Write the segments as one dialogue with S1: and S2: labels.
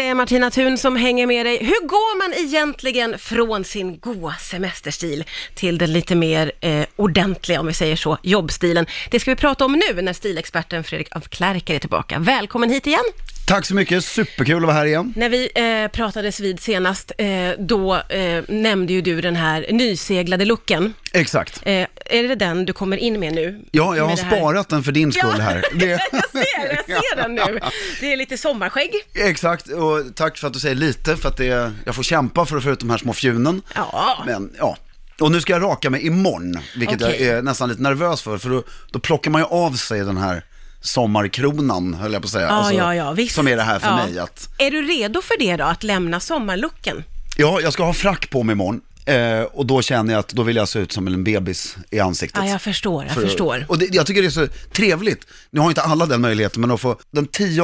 S1: är Martina Thun som hänger med dig. Hur går man egentligen från sin goa semesterstil till den lite mer eh, ordentliga, om vi säger så, jobbstilen? Det ska vi prata om nu när stilexperten Fredrik af Klerker är tillbaka. Välkommen hit igen!
S2: Tack så mycket, superkul att vara här igen.
S1: När vi eh, pratades vid senast, eh, då eh, nämnde ju du den här nyseglade looken.
S2: Exakt.
S1: Eh, är det den du kommer in med nu?
S2: Ja, jag
S1: Med
S2: har
S1: det här?
S2: sparat den för din skull här. Det,
S1: jag ser, jag ser den nu. Det är lite sommarskägg.
S2: exakt, och tack för att du säger lite, för att det, jag får kämpa för att få ut de här små fjunen.
S1: Ja.
S2: Men, ja. Och nu ska jag raka mig imorgon, vilket
S1: Okej.
S2: jag är nästan lite nervös för, för då, då plockar man ju av sig den här sommarkronan, höll jag på att säga. Alltså,
S1: Ja, ja, ja, visst.
S2: Som är det här för
S1: Ja.
S2: mig, att
S1: Är du redo för det då, att lämna sommarlooken?
S2: ja, jag ska ha frack på mig imorgon. Eh, och då känner jag att då vill jag se ut som en bebis i ansiktet.
S1: Ja, jag förstår, jag
S2: För-
S1: förstår.
S2: Och det, jag tycker det är så trevligt. Nu har inte alla den möjligheten, men att få den 10,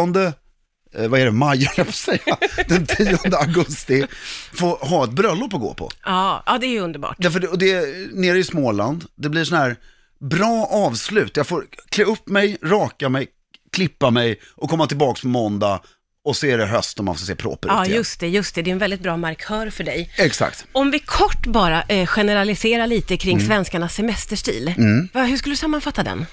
S2: eh, vad är det, maj höll jag på att säga, den 10 augusti, få ha ett bröllop att gå på.
S1: Ja, ja det är ju underbart.
S2: Därför det, och det, nere i Småland, det blir sån här bra avslut. Jag får klä upp mig, raka mig, klippa mig och komma tillbaka på måndag och se det höst om man får se proper
S1: Ja,
S2: ut igen.
S1: just det, just det. Det är en väldigt bra markör för dig.
S2: Exakt.
S1: Om vi kort bara eh, generaliserar lite kring
S2: Mm.
S1: svenskarnas semesterstil. Va, hur skulle du sammanfatta den?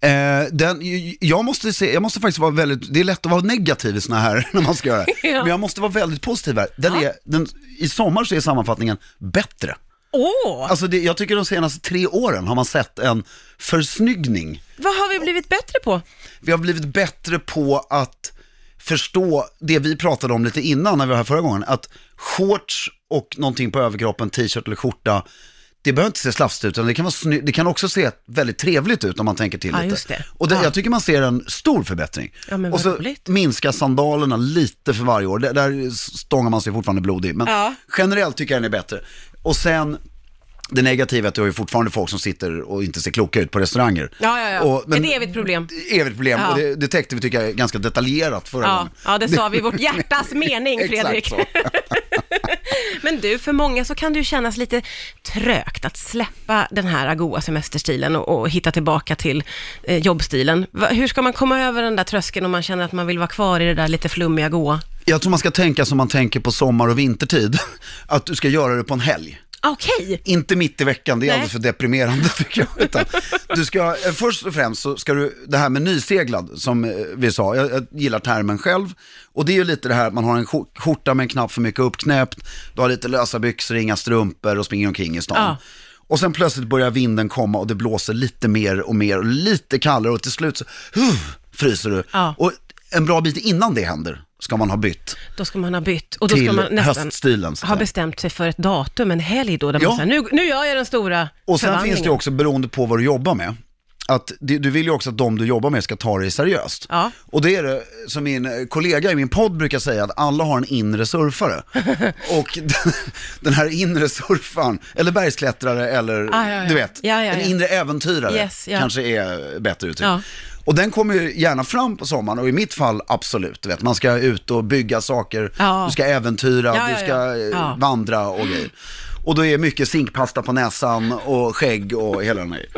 S2: Eh, den, jag, måste se, jag måste faktiskt vara väldigt, det är lätt att vara negativ i såna här när man ska göra det.
S1: Ja.
S2: Men jag måste vara väldigt positiv här. Den
S1: Ja.
S2: är, den, I sommar så är sammanfattningen bättre.
S1: Åh,
S2: Alltså det, jag tycker de senaste tre åren har man sett en försnyggning.
S1: vad har vi blivit bättre på?
S2: Vi har blivit bättre på att förstå det vi pratade om lite innan när vi var här förra gången. Att shorts och någonting på överkroppen, t-shirt eller skjorta, det behöver inte se slafsigt ut, utan det kan, vara sny- det kan också se väldigt trevligt ut om man tänker till
S1: Ja,
S2: lite.
S1: just det.
S2: Och det,
S1: Ja.
S2: jag tycker man ser en stor förbättring.
S1: Ja, men vad
S2: och så
S1: roligt.
S2: minskar sandalerna lite för varje år. Där, där stångar man sig fortfarande blodig, men
S1: Ja.
S2: generellt tycker jag den är bättre. Och sen, det negativa är att du har ju fortfarande folk som sitter och inte ser kloka ut på restauranger.
S1: Ja, ja, ja.
S2: Och- men-
S1: Ett evigt problem.
S2: evigt problem
S1: Ja.
S2: och det, det täckte vi tycker jag är ganska detaljerat förra
S1: Ja,
S2: gången.
S1: ja, det sa vi, vårt hjärtas mening,
S2: Exakt
S1: Fredrik.
S2: så.
S1: Men du, för många så kan det ju kännas lite trögt att släppa den här goa semesterstilen och, och hitta tillbaka till eh, jobbstilen. Va, hur ska man komma över den där tröskeln om man känner att man vill vara kvar i det där lite flummiga, goa?
S2: Jag tror man ska tänka som man tänker på sommar och vintertid, att du ska göra det på en helg.
S1: Ah, Okej,
S2: Inte mitt i veckan, det är
S1: Nej.
S2: alldeles för deprimerande tycker jag. Utan du ska, eh, först och främst så ska du, det här med nyseglad som eh, vi sa, jag, jag gillar termen själv. Och det är ju lite det här att man har en skjor- skjorta med en knapp för mycket uppknäppt, du har lite lösa byxor, inga strumpor och springer omkring i stan.
S1: Ja.
S2: Och sen plötsligt börjar vinden komma och det blåser lite mer och mer och lite kallare och till slut så huh, fryser du.
S1: Ja.
S2: Och en bra bit innan det händer ska man ha bytt
S1: då ska man ha bytt och då
S2: till
S1: ska man nästan
S2: höststilen. så att
S1: ha
S2: säga.
S1: bestämt sig för ett datum, en helg då, där man
S2: Ja.
S1: säger nu, nu gör jag den stora
S2: Och sen
S1: förvandlingen."
S2: finns det ju också, beroende på vad du jobbar med, att det- du vill ju också att de du jobbar med ska ta dig seriöst.
S1: Ja.
S2: Och det är det, som min eh, kollega i min podd brukar säga, att alla har en inre surfare. Och den- den här inre surfaren, eller bergsklättrare eller,
S1: Ah, ja, ja.
S2: du vet,
S1: Ja, ja,
S2: en
S1: ja.
S2: inre äventyrare
S1: Yes, ja.
S2: kanske är bättre uttryck.
S1: Ja.
S2: Och den kommer ju gärna fram på sommaren och i mitt fall absolut, du vet, man ska ut och bygga saker,
S1: Ja.
S2: du ska äventyra,
S1: Ja, ja,
S2: du ska
S1: ja.
S2: eh,
S1: Ja.
S2: vandra och grejer. Och då är mycket zinkpasta på näsan och skägg och hela den här grejen.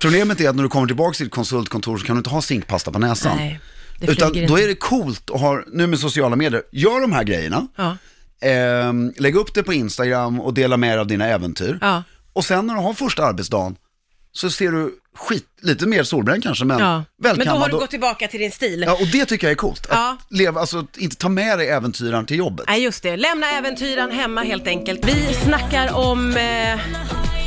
S2: Problemet är att när du kommer tillbaka till ditt konsultkontor så kan du inte ha zinkpasta på näsan.
S1: Nej, det
S2: Utan
S1: flyger
S2: då
S1: inte.
S2: är det coolt att ha, nu med sociala medier, gör de här grejerna.
S1: Ja.
S2: Ehm, lägg upp det på Instagram och dela med dig av dina äventyr.
S1: Ja.
S2: Och sen när du har första arbetsdagen så ser du skit, lite mer solbränd kanske, men
S1: Ja. Men då
S2: välkammad.
S1: har du
S2: och-
S1: gått tillbaka till din stil.
S2: Ja, och det tycker jag är coolt.
S1: Ja.
S2: Att leva, alltså att inte ta med dig äventyraren till jobbet.
S1: Nej, just det. Lämna äventyran hemma helt enkelt. Vi snackar om eh,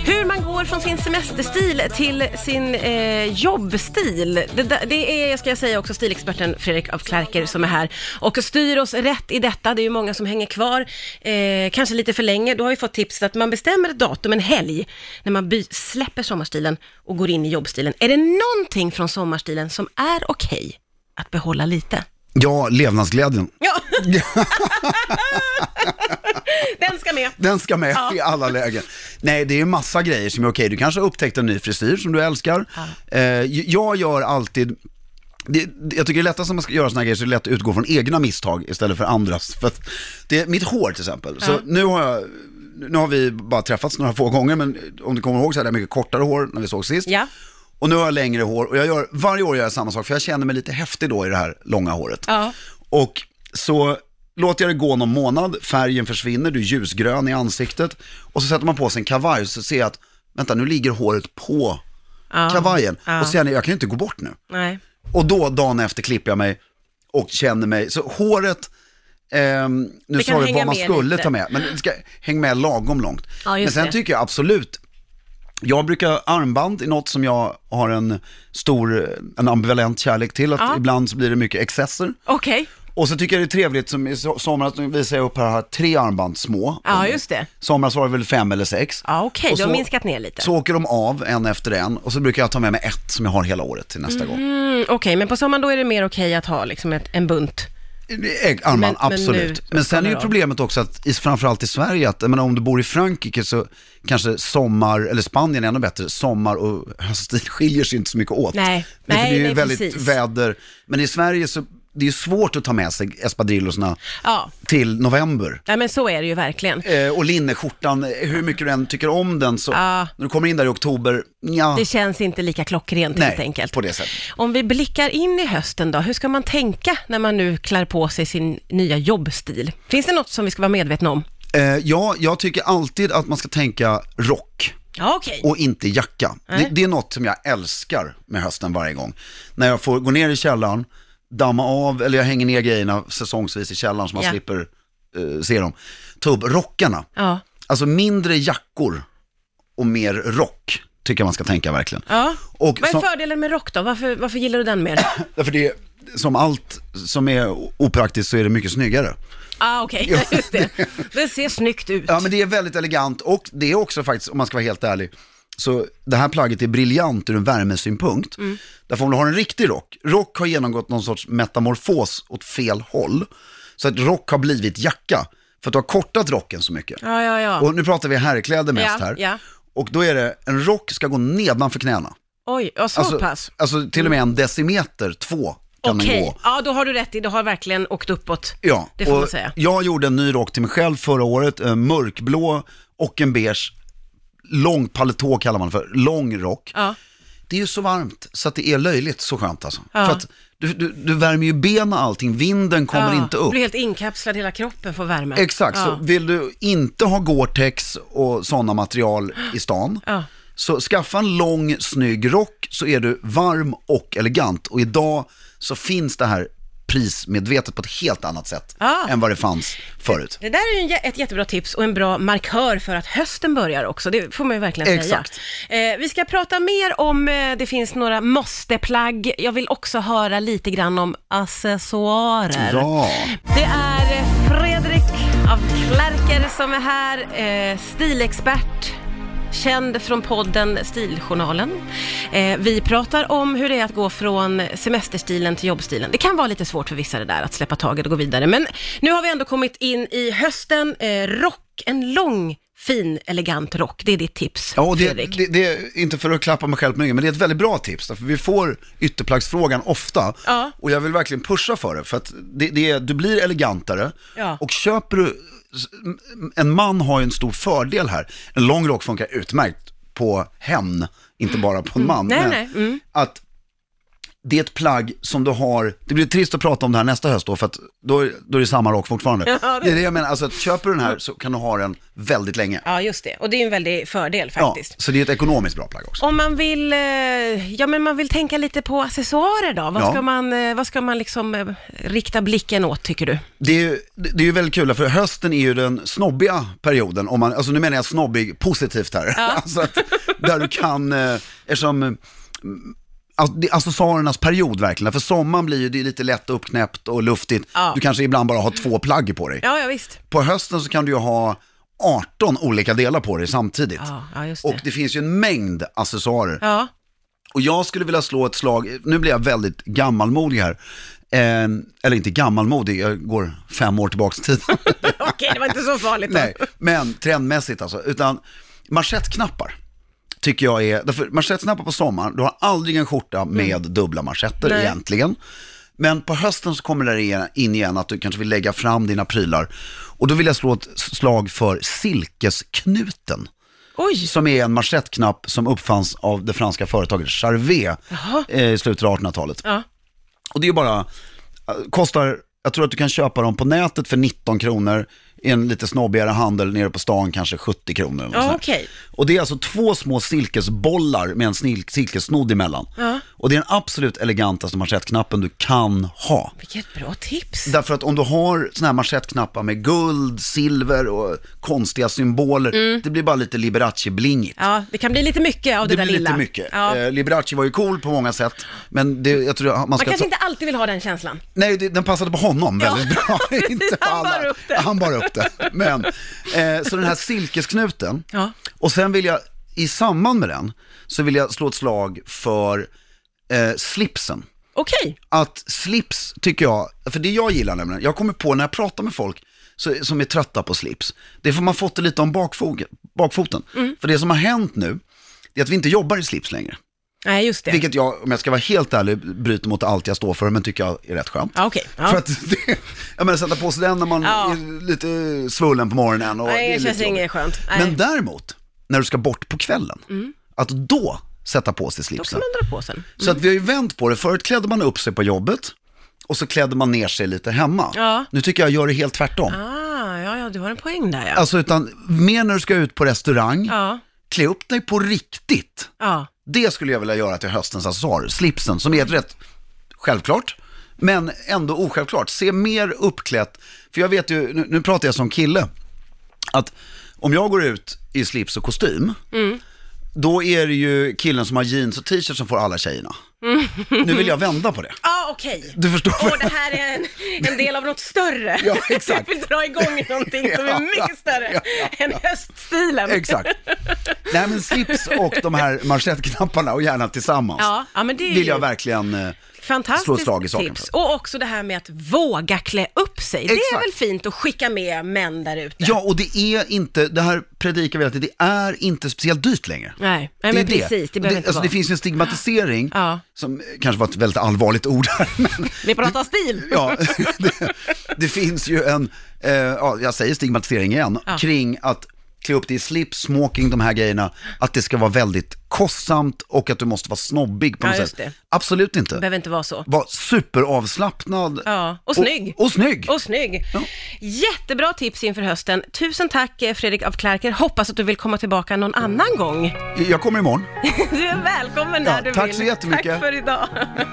S1: hur man går från sin semesterstil till sin eh, jobbstil. Det, där- det är, ska jag säga också, stilexperten Fredrik af Klerker som är här och styr oss rätt i detta. Det är ju många som hänger kvar, eh, kanske lite för länge. Då har vi fått tipset att man bestämmer ett datum, en helg, när man by- släpper sommarstilen och går in i jobbstilen. Är det någonting från sommarstilen som är okej att behålla lite?
S2: Ja, levnadsglädjen.
S1: Ja. Den ska med.
S2: Den ska med i alla lägen. Nej, det är ju massa grejer som är okej. Du kanske har upptäckt en ny frisyr som du älskar. Eh, jag gör alltid, det, det- jag tycker det är lättast när man ska göra sådana grejer så är det lätt att utgå från egna misstag istället för andras. För att det är mitt hår till exempel. Så nu har jag, nu har vi bara träffats några få gånger, men om du kommer ihåg så hade jag mycket kortare hår när vi såg sist.
S1: Ja.
S2: Och nu har jag längre hår och jag gör, varje år gör jag samma sak för jag känner mig lite häftig då i det här långa håret.
S1: Ja.
S2: Och så låter jag det gå någon månad, färgen försvinner, du är ljusgrön i ansiktet och så sätter man på sig en kavaj och så ser jag att, vänta nu ligger håret på
S1: Ja.
S2: kavajen
S1: Ja.
S2: och så känner jag, jag kan ju inte gå bort nu.
S1: Nej.
S2: Och då dagen efter klipper jag mig och känner mig, så håret, ehm, nu
S1: Det kan
S2: sa jag
S1: hänga
S2: vad man
S1: med
S2: skulle
S1: lite.
S2: ta med, men det ska, häng med lagom långt.
S1: Ja,
S2: men
S1: just
S2: sen
S1: det.
S2: tycker jag absolut, jag brukar armband i något som jag har en stor, en ambivalent kärlek till, att
S1: Ja.
S2: ibland så blir det mycket excesser.
S1: Okej,
S2: Och så tycker jag det är trevligt, som i so- somras, nu visar jag upp här, har tre armband små.
S1: ja just det.
S2: Somras var det väl fem eller sex.
S1: Ja okej,
S2: Och
S1: du har
S2: så-
S1: minskat ner lite.
S2: Så åker de av en efter en och så brukar jag ta med mig ett som jag har hela året till nästa gång.
S1: Mm, okej, men på sommaren då är det mer okej att ha liksom ett, en bunt.
S2: Ägg, armband,
S1: Men- men
S2: absolut. Men,
S1: nu
S2: sen är ju
S1: skalar av.
S2: problemet också att, i, framförallt i Sverige, att jag menar, om du bor i Frankrike så kanske sommar, eller Spanien är ännu bättre, sommar och höststil skiljer sig inte så mycket åt.
S1: Nej,
S2: det, för
S1: nej,
S2: det är ju
S1: nej,
S2: väldigt
S1: precis.
S2: väder, men i Sverige så, det är ju svårt att ta med sig espadrillorna
S1: Ja,
S2: till november.
S1: nej, men så är det ju verkligen.
S2: Eh, och linneskjortan, eh, hur mycket du än tycker om den så,
S1: Ja.
S2: när du kommer in där i oktober, ja,
S1: Det känns inte lika klockrent helt
S2: nej,
S1: enkelt.
S2: på det sättet.
S1: Om vi blickar in i hösten då, hur ska man tänka när man nu klär på sig sin nya jobbstil? Finns det något som vi ska vara medvetna om?
S2: Eh, ja, jag tycker alltid att man ska tänka rock.
S1: Ja, okej.
S2: och inte jacka. Det, det är något som jag älskar med hösten varje gång. När jag får gå ner i källaren, damma av, eller jag hänger ner grejerna säsongsvis i källaren så man
S1: Ja.
S2: slipper eh, se dem. Ta upp rockarna.
S1: Ja.
S2: Alltså mindre jackor och mer rock, tycker jag man ska tänka verkligen.
S1: ja.
S2: Och
S1: Vad är
S2: som,
S1: fördelen med rock då? Varför, varför gillar du den mer? Ja,
S2: därför det, som allt som är opraktiskt så är det mycket snyggare.
S1: ah, okej, just det. Det ser snyggt ut.
S2: Ja men det är väldigt elegant och det är också faktiskt, om man ska vara helt ärlig, så det här plagget är briljant ur en värmesynpunkt. Därför om du har en riktig rock, rock har genomgått någon sorts metamorfos åt fel håll. Så att rock har blivit jacka, för att du har kortat rocken så mycket.
S1: Ja, ja, ja.
S2: Och nu pratar vi herrkläder mest
S1: Ja,
S2: här.
S1: ja.
S2: Och då är det, en rock ska gå nedanför knäna.
S1: Oj, ja, så pass.
S2: alltså till och med en decimeter, två kan den
S1: Okej,
S2: gå.
S1: ja då har du rätt i, du har verkligen åkt uppåt.
S2: Ja,
S1: Det får
S2: och
S1: man säga.
S2: jag gjorde en ny rock till mig själv förra året, en mörkblå och en beige, lång paletå kallar man det för, lång rock.
S1: Ja.
S2: Det är ju så varmt så att det är löjligt så skönt alltså.
S1: Ja.
S2: För att du, du, du värmer ju benen och allting, vinden kommer
S1: ja.
S2: inte upp.
S1: blir helt inkapslad, hela kroppen får värme.
S2: Exakt,
S1: ja.
S2: så vill du inte ha Gore-Tex och sådana material i stan,
S1: Ja.
S2: så skaffa en lång snygg rock så är du varm och elegant. Och idag så finns det här prismedvetet på ett helt annat sätt
S1: Ja.
S2: än vad det fanns förut.
S1: Det där är ju en jä- ett jättebra tips och en bra markör för att hösten börjar också, det får man ju verkligen
S2: Exakt.
S1: säga. Eh, vi ska prata mer om, eh, det finns några måste-plagg, jag vill också höra lite grann om accessoarer.
S2: Ja,
S1: Det är eh, Fredrik av Klerker som är här, eh, stilexpert, känd från podden Stiljournalen. Eh, vi pratar om hur det är att gå från semesterstilen till jobbstilen. Det kan vara lite svårt för vissa det där att släppa taget och gå vidare, men nu har vi ändå kommit in i hösten. Eh, rock, en lång, fin, elegant rock. Det är ditt tips,
S2: ja och det,
S1: Fredrik.
S2: det, det är inte för att klappa mig själv på ryggen, men det är ett väldigt bra tips. För vi får ytterplaggsfrågan ofta
S1: Ja.
S2: och jag vill verkligen pusha för det. För att det, det är, du blir elegantare
S1: Ja.
S2: och köper du, en man har ju en stor fördel här. En lång rock funkar utmärkt på hen, inte bara på en man.
S1: Mm. Nej,
S2: men
S1: nej, mm.
S2: Att det är ett plagg som du har, det blir trist att prata om det här nästa höst då, för att då, är- då är det samma rock fortfarande.
S1: Ja, det-
S2: det... är det jag menar, alltså att köper du den här så kan du ha den väldigt länge.
S1: Ja, just det. Och det är ju en väldig fördel
S2: Ja,
S1: faktiskt.
S2: så det är ett ekonomiskt bra plagg också.
S1: Om man vill, eh, ja men man vill tänka lite på accessoarer då, vad
S2: Ja.
S1: ska man, eh, vad ska man liksom eh, rikta blicken åt tycker du?
S2: Det är, ju, det det är ju väldigt kul, för hösten är ju den snobbiga perioden, om man, alltså nu menar jag snobbig positivt här. alltså att, där du kan, eh, eftersom, eh, alltså, det är accessoarernas period verkligen, för sommaren blir ju det är lite lätt uppknäppt och luftigt,
S1: Ja.
S2: du kanske ibland bara har två plagg på dig.
S1: Ja, ja visst.
S2: På hösten så kan du ju ha 18 olika delar på dig samtidigt.
S1: Ja, ja just
S2: Och
S1: det.
S2: det finns ju en mängd accessoarer.
S1: Ja,
S2: Och jag skulle vilja slå ett slag, nu blir jag väldigt gammalmodig här. Eh, eller inte gammalmodig, jag går fem år tillbaka i tiden.
S1: okej det var inte så farligt då.
S2: Nej, men trendmässigt alltså. Utan manschettknappar tycker jag är, därför manschettknappar på sommaren, du har aldrig en skjorta med dubbla manschetter
S1: Nej.
S2: egentligen. Men på hösten så kommer det där igen- in igen att du kanske vill lägga fram dina prylar. Och då vill jag slå ett slag för silkesknuten
S1: Oj,
S2: som är en manschettknapp som uppfanns av det franska företaget Charvet eh, i slutet av 1800-talet.
S1: ja.
S2: Och det är bara, eh, kostar jag tror att du kan köpa dem på nätet för 19 kronor, i en lite snobbigare handel nere på stan kanske 70 kronor. eller något sånt
S1: Ja,
S2: där.
S1: okej.
S2: Och det är alltså två små silkesbollar med en snil- silkessnodd emellan.
S1: Ja.
S2: Och det är den absolut elegantaste manschettknappen du kan ha.
S1: Vilket bra tips.
S2: Därför att om du har såna här manschettknappar med guld, silver och konstiga symboler,
S1: Mm.
S2: det blir bara lite Liberace-blingigt.
S1: Ja, det kan bli lite mycket av det,
S2: Det blir
S1: där lilla.
S2: lite mycket.
S1: Ja.
S2: Eh, Liberace var ju cool på många sätt, men det, jag tror man
S1: Man
S2: ska...
S1: kanske
S2: ta-
S1: inte alltid vill ha den känslan.
S2: Nej, det, den passade på honom
S1: Ja,
S2: väldigt bra.
S1: precis,
S2: inte på
S1: han
S2: alla.
S1: bar upp det.
S2: Han bar upp det. Men, eh, så den här silkesknuten,
S1: Ja.
S2: och sen vill jag, i samband med den, så vill jag slå ett slag för eh, slipsen
S1: Okej,
S2: att slips tycker jag, för det jag gillar nämligen, jag kommer på när jag pratar med folk så, som är trötta på slips, det är för man fått det lite om bakfogen, bakfoten.
S1: Mm.
S2: För det som har hänt nu, det är att vi inte jobbar i slips längre.
S1: nej just det.
S2: Vilket jag, om jag ska vara helt ärlig, bryter mot allt jag står för, men tycker jag är rätt skönt.
S1: Ja, okej. Ja.
S2: För att det, jag menar sätta på sig den när man
S1: Ja.
S2: är lite svullen på morgonen och
S1: Nej,
S2: det är
S1: det känns
S2: lite jobbigt.
S1: inget skönt. Nej. Mm.
S2: Men däremot, när du ska bort på kvällen, att då sätta på sig
S1: Då kan
S2: slipsen.
S1: man dra på sen.
S2: Så att vi har ju vänt på det. Förut klädde man upp sig på jobbet och så klädde man ner sig lite hemma.
S1: Ja.
S2: Nu tycker jag gör det helt tvärtom.
S1: Ah, ja, ja, du har en poäng där ja.
S2: Alltså utan mer när du ska ut på restaurang,
S1: Ja,
S2: klä upp dig på riktigt.
S1: ja.
S2: Det skulle jag vilja göra till höstens accessoar, slipsen, som är ett rätt självklart, men ändå osjälvklart. Se mer uppklätt, för jag vet ju, nu, nu pratar jag som kille, att om jag går ut i slips och kostym,
S1: Mm.
S2: då är det ju killen som har jeans och t-shirt som får alla tjejerna.
S1: Mm.
S2: Nu vill jag vända på det.
S1: Ah, okej.
S2: Du förstår
S1: Åh,
S2: vad jag-
S1: det här är en, en del av något större.
S2: Ja, exakt.
S1: Jag vill dra igång någonting som är mycket större än höststilen.
S2: Exakt. Nej men slips och de här manschettknapparna och gärna tillsammans.
S1: Ja, ja, men det är
S2: Vill jag
S1: ju-
S2: verkligen... eh, slå ett
S1: Fantastiskt
S2: slag i saken.
S1: tips. Och också det här med att våga klä upp sig. Det är
S2: Exakt.
S1: väl fint att skicka med män där ute?
S2: Ja, och det är inte, det här predikar vi alltid, det är inte speciellt dyrt längre.
S1: Nej, nej men
S2: är
S1: precis. Det behöver inte
S2: alltså,
S1: vara.
S2: det finns ju en stigmatisering,
S1: Ja.
S2: som eh, kanske var ett väldigt allvarligt ord här, men
S1: Vi pratar stil.
S2: Mm. ja, det, det finns ju en, eh, ja, jag säger stigmatisering igen,
S1: Ja.
S2: kring att klä upp dig i slips, smoking, de här grejerna, att det ska vara väldigt kostsamt och att du måste vara snobbig på
S1: Ja,
S2: något
S1: just
S2: sätt.
S1: det.
S2: Absolut
S1: Det
S2: inte.
S1: behöver inte vara så.
S2: Var superavslappnad.
S1: Ja, och snygg.
S2: Och, och snygg.
S1: Och snygg.
S2: Ja.
S1: Jättebra tips inför hösten. Tusen tack eh, Fredrik af Klerker. Hoppas att du vill komma tillbaka någon annan gång.
S2: Jag kommer imorgon.
S1: Du är välkommen när
S2: Ja,
S1: du
S2: tack
S1: vill.
S2: så jättemycket.
S1: Tack för idag.